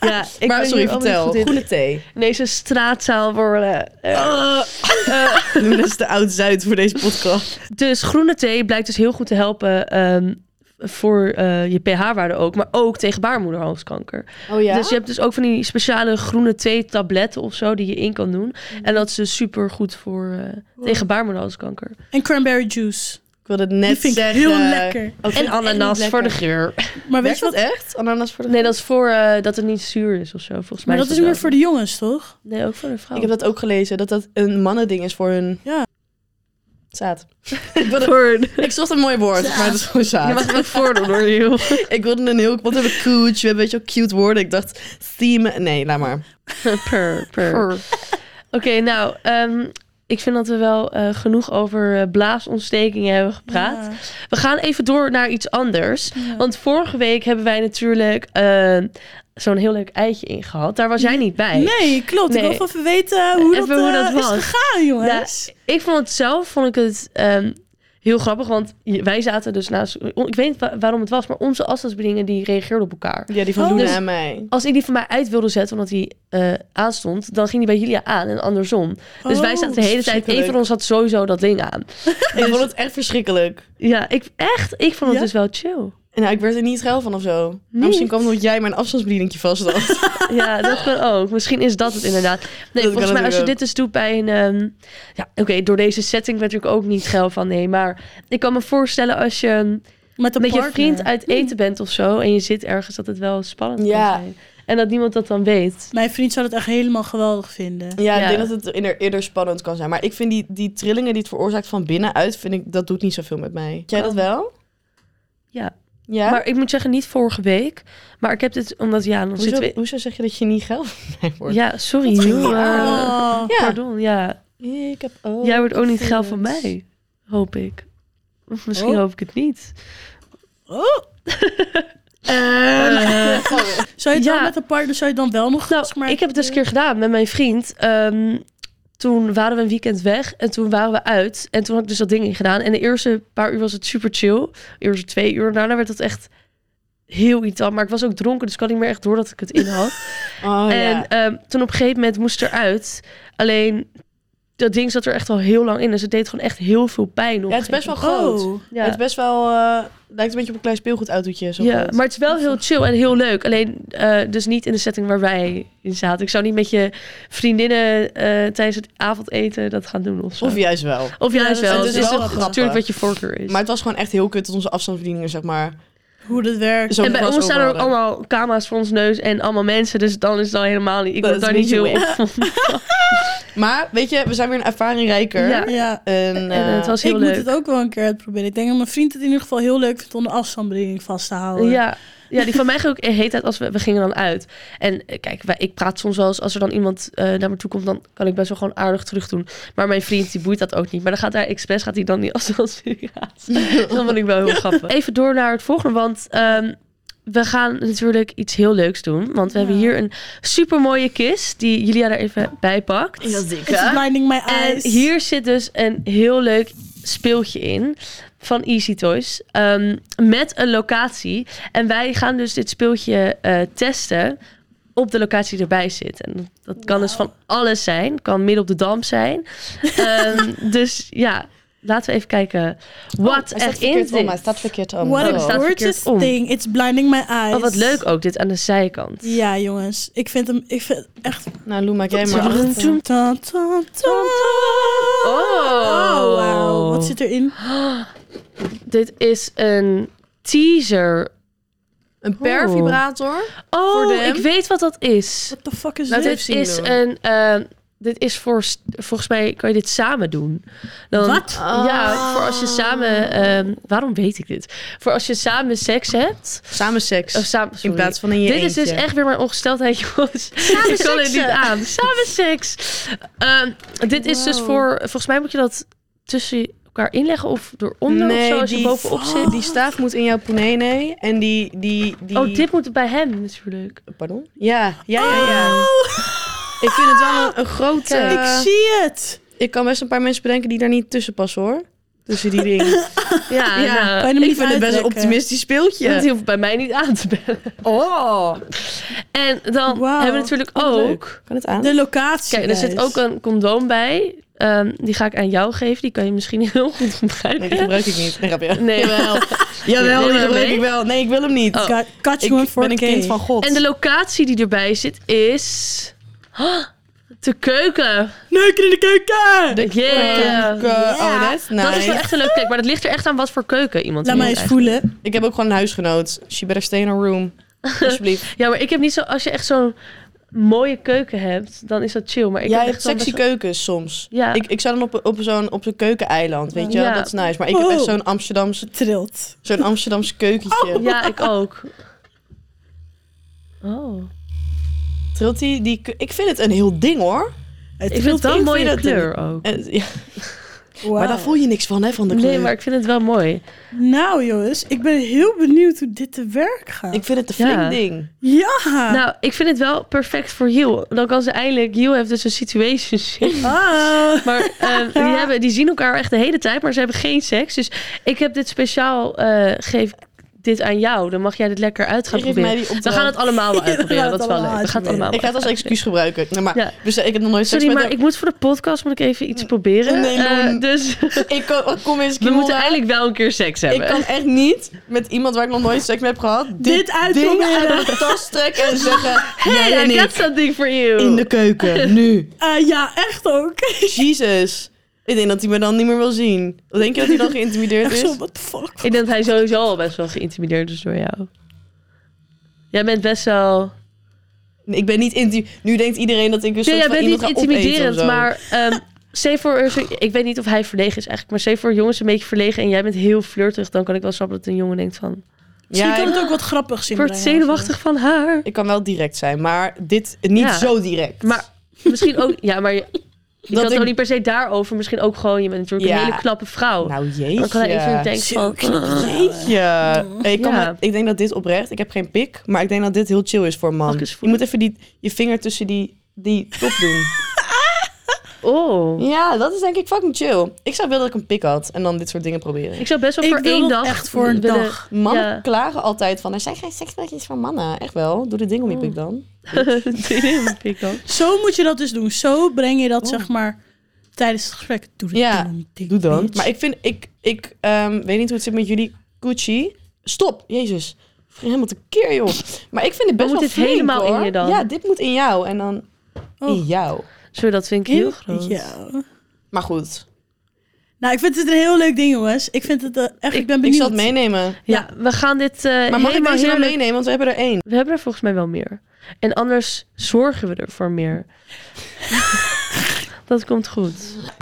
Speaker 1: Ja, ik
Speaker 2: Maar
Speaker 1: ben
Speaker 2: sorry,
Speaker 1: hier allemaal niet
Speaker 2: vertel.
Speaker 1: goed in.
Speaker 2: Groene thee.
Speaker 1: Nee, ze straatzaal worden. Eh, eh,
Speaker 2: Noem dat is te oud-Zuid voor deze podcast.
Speaker 1: Dus groene thee blijkt dus heel goed te helpen ehm, voor eh, je pH-waarde ook, maar ook tegen baarmoederhalskanker.
Speaker 2: Oh ja?
Speaker 1: Dus je hebt dus ook van die speciale groene thee-tabletten of zo die je in kan doen. En dat is dus super goed voor eh, tegen baarmoederhalskanker.
Speaker 3: Eh, En cranberry juice.
Speaker 2: ik wilde het net
Speaker 3: Die vind ik
Speaker 2: zeggen.
Speaker 3: heel lekker.
Speaker 2: Oh, ik vind
Speaker 1: En
Speaker 2: het echt niet
Speaker 1: ananas
Speaker 2: lekker.
Speaker 1: voor de geur.
Speaker 3: Maar weet
Speaker 2: Werkt
Speaker 3: je wat?
Speaker 2: dat echt? Ananas voor de
Speaker 1: Nee, dat is voor eh, dat het niet zuur is of zo. Volgens mij.
Speaker 3: Maar dat is meer voor de jongens, toch?
Speaker 1: ook. Nee, ook voor de vrouw.
Speaker 2: Ik heb dat ook gelezen, dat dat een mannending is voor hun
Speaker 3: Ja.
Speaker 2: zaad. [LAUGHS] ik, wilde-
Speaker 1: voor.
Speaker 2: ik zocht een mooi woord, maar het is gewoon
Speaker 1: Je
Speaker 2: zaad.
Speaker 1: mag het ook voordoen hoor, joh. [LAUGHS]
Speaker 2: Ik wilde een heel... Wat hebben we? Cooch, we hebben een beetje cute woorden. Ik dacht, theme... Nee, laat maar.
Speaker 1: Per, per. Oké, nou, ehm, ik vind dat we wel eh, genoeg over eh, blaasontstekingen hebben gepraat.
Speaker 3: Ja.
Speaker 1: We gaan even door naar iets anders.
Speaker 3: Ja.
Speaker 1: Want vorige week hebben wij natuurlijk eh, zo'n heel leuk eitje in gehad. Daar was jij niet bij.
Speaker 3: Nee, klopt.
Speaker 1: Nee.
Speaker 3: Ik wil even weten hoe,
Speaker 1: Even
Speaker 3: dat,
Speaker 1: hoe
Speaker 3: eh,
Speaker 1: dat was.
Speaker 3: is gegaan, jongens.
Speaker 1: Nou, Ik vond het zelf vond ik het ehm, heel grappig. Want je- wij zaten dus naast. Ik weet niet wa- waarom het was, maar onze afstandsbedieningen die reageerden op elkaar.
Speaker 2: Ja, die van
Speaker 3: Oh,
Speaker 2: Luna
Speaker 3: dus-
Speaker 1: [LAUGHS]
Speaker 2: en mij.
Speaker 1: Als ik die van mij uit wilde zetten omdat die eh aanstond, dan ging die bij jullie aan en andersom. Dus wij
Speaker 3: Oh,
Speaker 1: zaten de hele tijd. Een van ons had sowieso dat ding aan.
Speaker 2: Ik vond het echt verschrikkelijk.
Speaker 1: Ja, ik echt. Ik vond het
Speaker 3: Ja?
Speaker 1: dus wel chill.
Speaker 2: En nou, ik werd er niet geil van of zo. Maar
Speaker 1: Niet?
Speaker 2: Misschien kwam het omdat jij mijn afstandsbedieningje vast
Speaker 1: [LAUGHS]
Speaker 2: had.
Speaker 1: Ja, dat kan ook. Misschien is dat het inderdaad. Nee,
Speaker 2: kan
Speaker 1: volgens mij als je
Speaker 2: natuurlijk
Speaker 1: dit dus doet bij een... ehm, ja, oké, door deze setting werd ik ook niet geil van. Nee, maar ik kan me voorstellen als je ehm,
Speaker 3: Met een
Speaker 1: met je
Speaker 3: partner.
Speaker 1: vriend uit eten bent of zo... en je zit ergens, dat het wel spannend
Speaker 2: Hmm. Ja.
Speaker 1: kan zijn. En dat niemand dat dan weet.
Speaker 3: Mijn vriend zou dat echt helemaal geweldig vinden.
Speaker 2: Ja,
Speaker 1: Ja.
Speaker 2: ik denk dat het inner- eerder spannend kan zijn. Maar ik vind die, die trillingen die het veroorzaakt van binnenuit, vind ik, dat doet niet zoveel met mij. Jij dat wel?
Speaker 1: Oh. Ja.
Speaker 2: Ja?
Speaker 1: Maar ik moet zeggen, niet vorige week. Maar ik heb dit omdat, ja, dan
Speaker 2: Hoezo,
Speaker 1: zitten
Speaker 2: hoezo zeg je dat je niet geil van mij
Speaker 1: we...
Speaker 2: wordt?
Speaker 1: Ja, sorry.
Speaker 2: Dat is
Speaker 1: joh,
Speaker 2: raar.
Speaker 1: eh,
Speaker 3: Oh.
Speaker 2: Ah. Ja.
Speaker 1: Pardon, ja.
Speaker 2: Ik heb oh. ook
Speaker 1: Jij wordt ook niet geil
Speaker 2: gevoelens.
Speaker 1: van mij, hoop ik. Of misschien
Speaker 3: Oh.
Speaker 1: hoop ik het niet.
Speaker 3: Oh. [LAUGHS] Zou je het
Speaker 1: Eh. Ja.
Speaker 3: dan met een partner, zou je het dan wel nog...
Speaker 1: Nou,
Speaker 3: zeg maar-
Speaker 1: ik heb het dus een keer gedaan met mijn vriend. Ehm, toen waren we een weekend weg en toen waren we uit. En toen had ik dus dat ding in gedaan. En de eerste paar uur was het super chill. De eerste twee uur. Daarna werd het echt heel irritant. Maar ik was ook dronken, dus ik had niet meer echt door dat ik het in had.
Speaker 2: [LAUGHS] Oh,
Speaker 1: en
Speaker 2: ja.
Speaker 1: ehm, toen op een gegeven moment moest het eruit. Alleen dat ding zat er echt al heel lang in. Dus het deed gewoon echt heel veel pijn. Op
Speaker 2: ja, het is
Speaker 1: een
Speaker 2: best
Speaker 1: gegeven
Speaker 2: wel groot.
Speaker 3: Oh.
Speaker 1: moment. Ja.
Speaker 2: Het is best wel, eh, lijkt een beetje op een klein speelgoedautootje. Zo
Speaker 1: Ja,
Speaker 2: groot.
Speaker 1: maar het is wel heel chill en heel leuk. Alleen eh, dus niet in de setting waar wij in zaten. Ik zou niet met je vriendinnen eh, tijdens het avondeten dat gaan doen of zo.
Speaker 2: Of juist wel.
Speaker 1: Of juist
Speaker 3: Ja, dat
Speaker 1: wel. Dus
Speaker 3: is
Speaker 1: Het is
Speaker 3: wel
Speaker 1: toch
Speaker 2: grappig.
Speaker 1: natuurlijk wat je voorkeur is.
Speaker 2: Maar het was gewoon echt heel kut dat onze afstandsbedieningen, zeg maar,
Speaker 3: hoe dat werkt.
Speaker 2: Zo'n
Speaker 1: en bij
Speaker 2: glas
Speaker 1: ons staan er ook
Speaker 2: overhouden.
Speaker 1: allemaal camera's voor ons neus en allemaal mensen. Dus dan is het al helemaal niet. Ik
Speaker 2: Dat
Speaker 1: word
Speaker 2: is
Speaker 1: daar niet
Speaker 2: niet
Speaker 1: heel
Speaker 2: je
Speaker 1: op.
Speaker 2: Maar weet je, we zijn weer een ervaring rijker.
Speaker 1: Ja.
Speaker 3: Ja.
Speaker 2: En,
Speaker 1: En
Speaker 2: eh,
Speaker 1: eh, het was heel
Speaker 3: ik
Speaker 1: leuk.
Speaker 3: moet het ook wel een keer uitproberen. Ik denk dat mijn vriend het in ieder geval heel leuk vindt om de afstandsbediening vast te houden.
Speaker 1: Ja, ja, die van mij ging ook de hele tijd als we, we gingen dan uit. En eh, kijk, wij, ik praat soms wel eens, als er dan iemand eh, naar me toe komt, dan kan ik best wel gewoon aardig terug doen. Maar mijn vriend, die boeit dat ook niet. Maar dan gaat hij expres, gaat hij dan niet als als [LAUGHS] Dat vond ik wel heel grappig. Even door naar het volgende, want ehm, we gaan natuurlijk iets heel leuks doen. Want we hebben
Speaker 3: Ja.
Speaker 1: hier een supermooie kist, die Julia er even bij pakt.
Speaker 2: eh,
Speaker 3: It's blinding my
Speaker 1: En
Speaker 3: eyes.
Speaker 1: hier zit dus een heel leuk speeltje in van Easy Toys ehm, met een locatie. En wij gaan dus dit speeltje eh, testen op de locatie die erbij zit. En dat- dat kan dus
Speaker 3: Wauw.
Speaker 1: van alles zijn. Kan midden op de dam [LAUGHS] zijn. Ehm, dus ja, laten we even kijken wat
Speaker 2: hij staat
Speaker 1: erin
Speaker 2: verkeerd om. Hij
Speaker 1: zit.
Speaker 2: staat verkeerd om.
Speaker 3: What
Speaker 1: Oh.
Speaker 3: a
Speaker 1: Staat
Speaker 3: gorgeous
Speaker 1: verkeerd om.
Speaker 3: thing. It's blinding my eyes.
Speaker 1: Oh, wat leuk ook dit aan de zijkant.
Speaker 3: Ja, jongens. Ik vind hem ik vind het echt...
Speaker 2: Nou, Luma, jij maar.
Speaker 1: Zullen we-
Speaker 2: achter.
Speaker 1: Toem,
Speaker 3: Ta, ta, ta. Oh, wauw. Wat zit erin?
Speaker 1: Dit is een teaser.
Speaker 2: Een pervibrator.
Speaker 1: Oh,
Speaker 2: de hem?
Speaker 1: ik weet wat dat is.
Speaker 3: What the fuck is
Speaker 1: Nou,
Speaker 3: dit?
Speaker 1: dit
Speaker 2: even zien,
Speaker 1: is
Speaker 2: Noor.
Speaker 1: een. ehm, dit is voor. st- Volgens mij kan je dit samen doen. Dan,
Speaker 3: Wat?
Speaker 2: Oh.
Speaker 1: Ja, voor als je samen. ehm, waarom weet ik dit? Voor als je samen seks hebt.
Speaker 2: Samen
Speaker 1: Of
Speaker 2: seks.
Speaker 1: samen.
Speaker 2: In
Speaker 1: Oh, sorry.
Speaker 2: plaats van in je
Speaker 1: dit is dus
Speaker 2: eentje.
Speaker 1: echt weer mijn ongesteldheid, [LAUGHS] jongens. ik kan het niet
Speaker 2: seksen.
Speaker 1: aan. Samen seks. Ehm, dit is dus
Speaker 3: Wow.
Speaker 1: voor. Volgens mij moet je dat tussen elkaar inleggen of eronder of zo als je bovenop zit.
Speaker 2: Die staaf moet in jouw ponene. En die... die, die
Speaker 1: Oh, dit moet bij hem natuurlijk.
Speaker 2: Pardon? Ja, ja, ja. ja.
Speaker 3: Oh,
Speaker 2: Ik vind het wel een, een grote...
Speaker 1: Ah! Kijk.
Speaker 2: eh,
Speaker 3: ik zie het.
Speaker 2: ik kan best een paar mensen bedenken die daar niet tussen passen, hoor. Tussen die
Speaker 1: [LAUGHS]
Speaker 2: dingen.
Speaker 1: Ja, nou,
Speaker 3: kan je hem
Speaker 2: ik vind het
Speaker 3: niet
Speaker 2: best een
Speaker 3: uitrekken?
Speaker 2: optimistisch
Speaker 1: Dat
Speaker 2: speeltje.
Speaker 1: hoeft bij mij niet aan te bellen.
Speaker 2: Oh.
Speaker 1: En dan
Speaker 3: Wauw.
Speaker 1: hebben we natuurlijk
Speaker 2: leuk.
Speaker 1: ook.
Speaker 2: Kan het aan?
Speaker 3: De locatie.
Speaker 1: Kijk, er zit
Speaker 3: guys.
Speaker 1: ook een condoom bij. Ehm, die ga ik aan jou geven. Die kan je misschien [LAUGHS] heel goed
Speaker 2: Nee, die
Speaker 1: gebruiken.
Speaker 2: gebruik ik niet. Nee, [LAUGHS] grapje.
Speaker 1: Nee, wel.
Speaker 2: Jawel,
Speaker 1: Wil je
Speaker 2: die
Speaker 1: hem
Speaker 2: gebruik
Speaker 1: mee?
Speaker 2: ik wel. Nee, ik wil hem niet.
Speaker 1: Oh.
Speaker 3: Ka- Catch
Speaker 2: Ik
Speaker 3: you in 4K.
Speaker 2: ben een kind van God.
Speaker 1: En de locatie die erbij zit is... Oh, de keuken.
Speaker 3: Neuken in de keuken!
Speaker 1: De
Speaker 2: Keuken. Oh,
Speaker 3: Ja.
Speaker 2: that's
Speaker 1: Dat is wel
Speaker 2: nice.
Speaker 1: echt een leuke plek. Maar dat ligt er echt aan wat voor keuken iemand
Speaker 3: Laat
Speaker 1: in
Speaker 3: mij
Speaker 1: heeft
Speaker 3: eens
Speaker 1: eigenlijk.
Speaker 3: voelen.
Speaker 2: Ik heb ook gewoon een huisgenoot. She better stay in her room. Alsjeblieft.
Speaker 1: Ja, maar [LAUGHS] ik heb niet zo... Als je echt zo'n mooie keuken hebt, dan is dat chill. Maar ik
Speaker 2: Jij
Speaker 1: heb
Speaker 2: hebt
Speaker 1: echt wel
Speaker 2: sexy
Speaker 1: best wel-
Speaker 2: keukens soms.
Speaker 1: Ja.
Speaker 2: Ik, ik zou dan op, op zo'n op zo'n keukeneiland, weet je wel?
Speaker 1: Ja.
Speaker 2: Dat is nice. Maar ik heb
Speaker 3: Oh.
Speaker 2: echt zo'n Amsterdamse,
Speaker 3: Trilt.
Speaker 2: zo'n Amsterdamse keukentje.
Speaker 1: Ja, ik ook. Oh.
Speaker 2: Trilt die, die, ke- ik vind het een heel ding, hoor.
Speaker 3: Het
Speaker 1: Ik vind het wel een
Speaker 2: vind
Speaker 1: mooie
Speaker 2: dat-
Speaker 1: kleur ook.
Speaker 2: En- ja, Maar daar voel je niks van, hè, van de kleur.
Speaker 1: Nee, maar ik vind het wel mooi.
Speaker 3: Nou jongens, ik ben heel benieuwd hoe dit te werk gaat.
Speaker 2: Ik vind het een flink
Speaker 1: Ja.
Speaker 2: ding.
Speaker 3: Ja!
Speaker 1: Nou, ik vind het wel perfect voor Jill. Dan kan ze eindelijk... Jill heeft dus een
Speaker 2: [LAUGHS]
Speaker 1: situationship. [LAUGHS]
Speaker 3: Ah.
Speaker 1: Maar ehm, die, hebben, die zien elkaar echt de hele tijd, maar ze hebben geen seks. Dus ik heb dit speciaal... eh, geef ik dit aan jou. Dan mag jij dit lekker uit gaan
Speaker 2: Geef mij
Speaker 1: proberen.
Speaker 2: die opdracht.
Speaker 1: We gaan het allemaal
Speaker 2: [LAUGHS]
Speaker 1: wel uitproberen.
Speaker 3: Ja,
Speaker 1: Dat is wel
Speaker 3: we gaan het
Speaker 1: leuk. We gaan het allemaal
Speaker 2: Ik ga het als excuus gebruiken. Nee, maar,
Speaker 1: Ja.
Speaker 2: dus, eh, ik heb nog nooit seks
Speaker 1: Sorry, maar
Speaker 2: met
Speaker 1: ik moet voor de podcast moet ik even iets proberen.
Speaker 2: Nee,
Speaker 1: Eh,
Speaker 2: Loen.
Speaker 1: dus [LAUGHS]
Speaker 2: een- Ik kan- kom eens,
Speaker 1: we
Speaker 2: Kimora.
Speaker 1: moeten eigenlijk wel een keer seks hebben.
Speaker 2: Ik kan echt niet met iemand waar ik nog nooit seks mee heb gehad... Dit, ding
Speaker 3: uitproberen.
Speaker 2: uit
Speaker 1: [LAUGHS]
Speaker 2: de tas trekken en zeggen...
Speaker 1: [LAUGHS] Hey,
Speaker 2: jij en
Speaker 1: I got
Speaker 2: ik
Speaker 1: something for you.
Speaker 2: in de [LAUGHS] keuken, nu.
Speaker 3: Eh, ja, echt ook. [LAUGHS]
Speaker 2: Jesus. Ik denk dat hij me dan niet meer wil zien. Denk je dat hij dan
Speaker 1: [LAUGHS]
Speaker 2: geïntimideerd
Speaker 3: Echt
Speaker 2: is?
Speaker 3: zo, what the fuck?
Speaker 1: Ik denk dat hij sowieso al best wel geïntimideerd is door jou. Jij bent best wel...
Speaker 2: Nee, ik ben niet inti. Nu denkt iedereen dat ik een soort
Speaker 1: Nee, jij
Speaker 2: van
Speaker 1: bent
Speaker 2: iemand
Speaker 1: niet
Speaker 2: ga opeten of
Speaker 1: intimiderend,
Speaker 2: zo.
Speaker 1: maar...
Speaker 2: [LAUGHS]
Speaker 1: ehm Save voor, er zo- ik weet niet of hij verlegen is eigenlijk, maar save voor jongens een beetje verlegen en jij bent heel flirtig, dan kan ik wel snappen dat een jongen denkt van,
Speaker 3: Misschien
Speaker 2: Ja,
Speaker 3: kan
Speaker 2: ik,
Speaker 3: het ook wat grappigs
Speaker 1: ik
Speaker 3: in
Speaker 1: word
Speaker 3: brengen of zo.
Speaker 1: zenuwachtig van haar.
Speaker 2: ik kan wel direct zijn, maar dit niet
Speaker 1: Ja.
Speaker 2: zo direct.
Speaker 1: Maar misschien ook, ja, maar
Speaker 2: [LAUGHS]
Speaker 1: je, je kan
Speaker 2: dat
Speaker 1: het
Speaker 2: ik-
Speaker 1: ook niet per se daarover, misschien ook gewoon, je bent natuurlijk
Speaker 2: Ja.
Speaker 1: een hele knappe vrouw.
Speaker 2: Nou jeetje.
Speaker 1: dan Oh, kan hij even denken
Speaker 3: Zo
Speaker 1: van,
Speaker 3: knap.
Speaker 2: Jeetje. Ik, kan
Speaker 1: Ja.
Speaker 2: me- ik denk dat dit oprecht, ik heb geen pik, maar ik denk dat dit heel chill is voor een
Speaker 1: Mag
Speaker 2: man.
Speaker 1: ik eens
Speaker 2: Je
Speaker 1: voelen?
Speaker 2: moet even die, je vinger tussen die, die top doen.
Speaker 1: oh.
Speaker 2: ja, dat is denk ik fucking chill. Ik zou willen dat ik een pik had en dan dit soort dingen proberen.
Speaker 1: Ik zou best wel
Speaker 3: Ik
Speaker 1: voor
Speaker 3: wil
Speaker 1: één
Speaker 3: dat
Speaker 1: dag
Speaker 3: echt voor een
Speaker 1: willen- [LAUGHS]
Speaker 3: dag.
Speaker 2: Mannen
Speaker 1: Ja.
Speaker 2: klagen altijd van, er zijn geen seksspelletjes voor mannen. Echt wel, doe dit ding om
Speaker 1: Oh.
Speaker 2: je pik dan.
Speaker 1: Ik
Speaker 2: [LAUGHS]
Speaker 1: dan.
Speaker 3: Zo moet je dat dus doen. Zo breng je dat,
Speaker 1: Oh.
Speaker 3: zeg maar, tijdens het gesprek. Doe dit
Speaker 2: Ja,
Speaker 3: dan, dik
Speaker 2: Doe dan.
Speaker 3: bitch.
Speaker 2: Maar ik vind, ik, ik ehm, weet niet hoe het zit met jullie Gucci. Stop, jezus. Ik ging Helemaal te keer, joh. Maar ik vind het best
Speaker 1: moet
Speaker 2: wel
Speaker 1: dit
Speaker 2: flink,
Speaker 1: helemaal in
Speaker 2: hoor.
Speaker 1: je dan?
Speaker 2: Ja, dit moet in jou en dan in
Speaker 3: Oh.
Speaker 2: jou.
Speaker 1: Zo, dat vind ik heel groot.
Speaker 3: Ja.
Speaker 2: Maar goed.
Speaker 3: Nou, ik vind het een heel leuk ding, jongens. Ik vind het eh, echt, ik, ben
Speaker 2: Ik
Speaker 3: benieuwd.
Speaker 2: zal het meenemen.
Speaker 1: Ja, we gaan dit eh
Speaker 2: Maar mag ik
Speaker 1: helemaal
Speaker 2: deze nou wel
Speaker 1: heerlijk-
Speaker 2: meenemen? Want we hebben er één.
Speaker 1: We hebben er volgens mij wel meer. En anders zorgen we ervoor meer. Dat komt goed.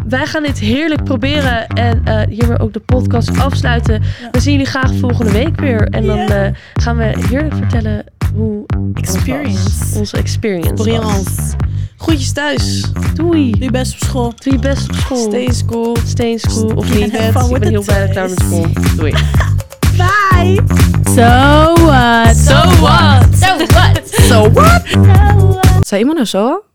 Speaker 1: Wij gaan dit heerlijk proberen en eh hiermee ook de podcast afsluiten. We zien jullie graag volgende week weer. En dan
Speaker 3: Ja.
Speaker 1: eh, gaan we heerlijk vertellen hoe het was.
Speaker 2: Experience.
Speaker 1: onze experience was.
Speaker 2: Briljant. Groetjes thuis.
Speaker 1: Doei.
Speaker 3: Doe je best op school.
Speaker 1: Doe je best op school.
Speaker 2: Stay in school.
Speaker 1: Stay in school of
Speaker 3: Keep
Speaker 1: niet.
Speaker 3: it fun
Speaker 1: Ik
Speaker 3: with
Speaker 1: ben
Speaker 3: the
Speaker 1: heel blij dat ik klaar ben met
Speaker 3: toys.
Speaker 1: school. Doei.
Speaker 3: Bye!
Speaker 1: So what?
Speaker 4: So what?
Speaker 2: Zijn iemand nou zo?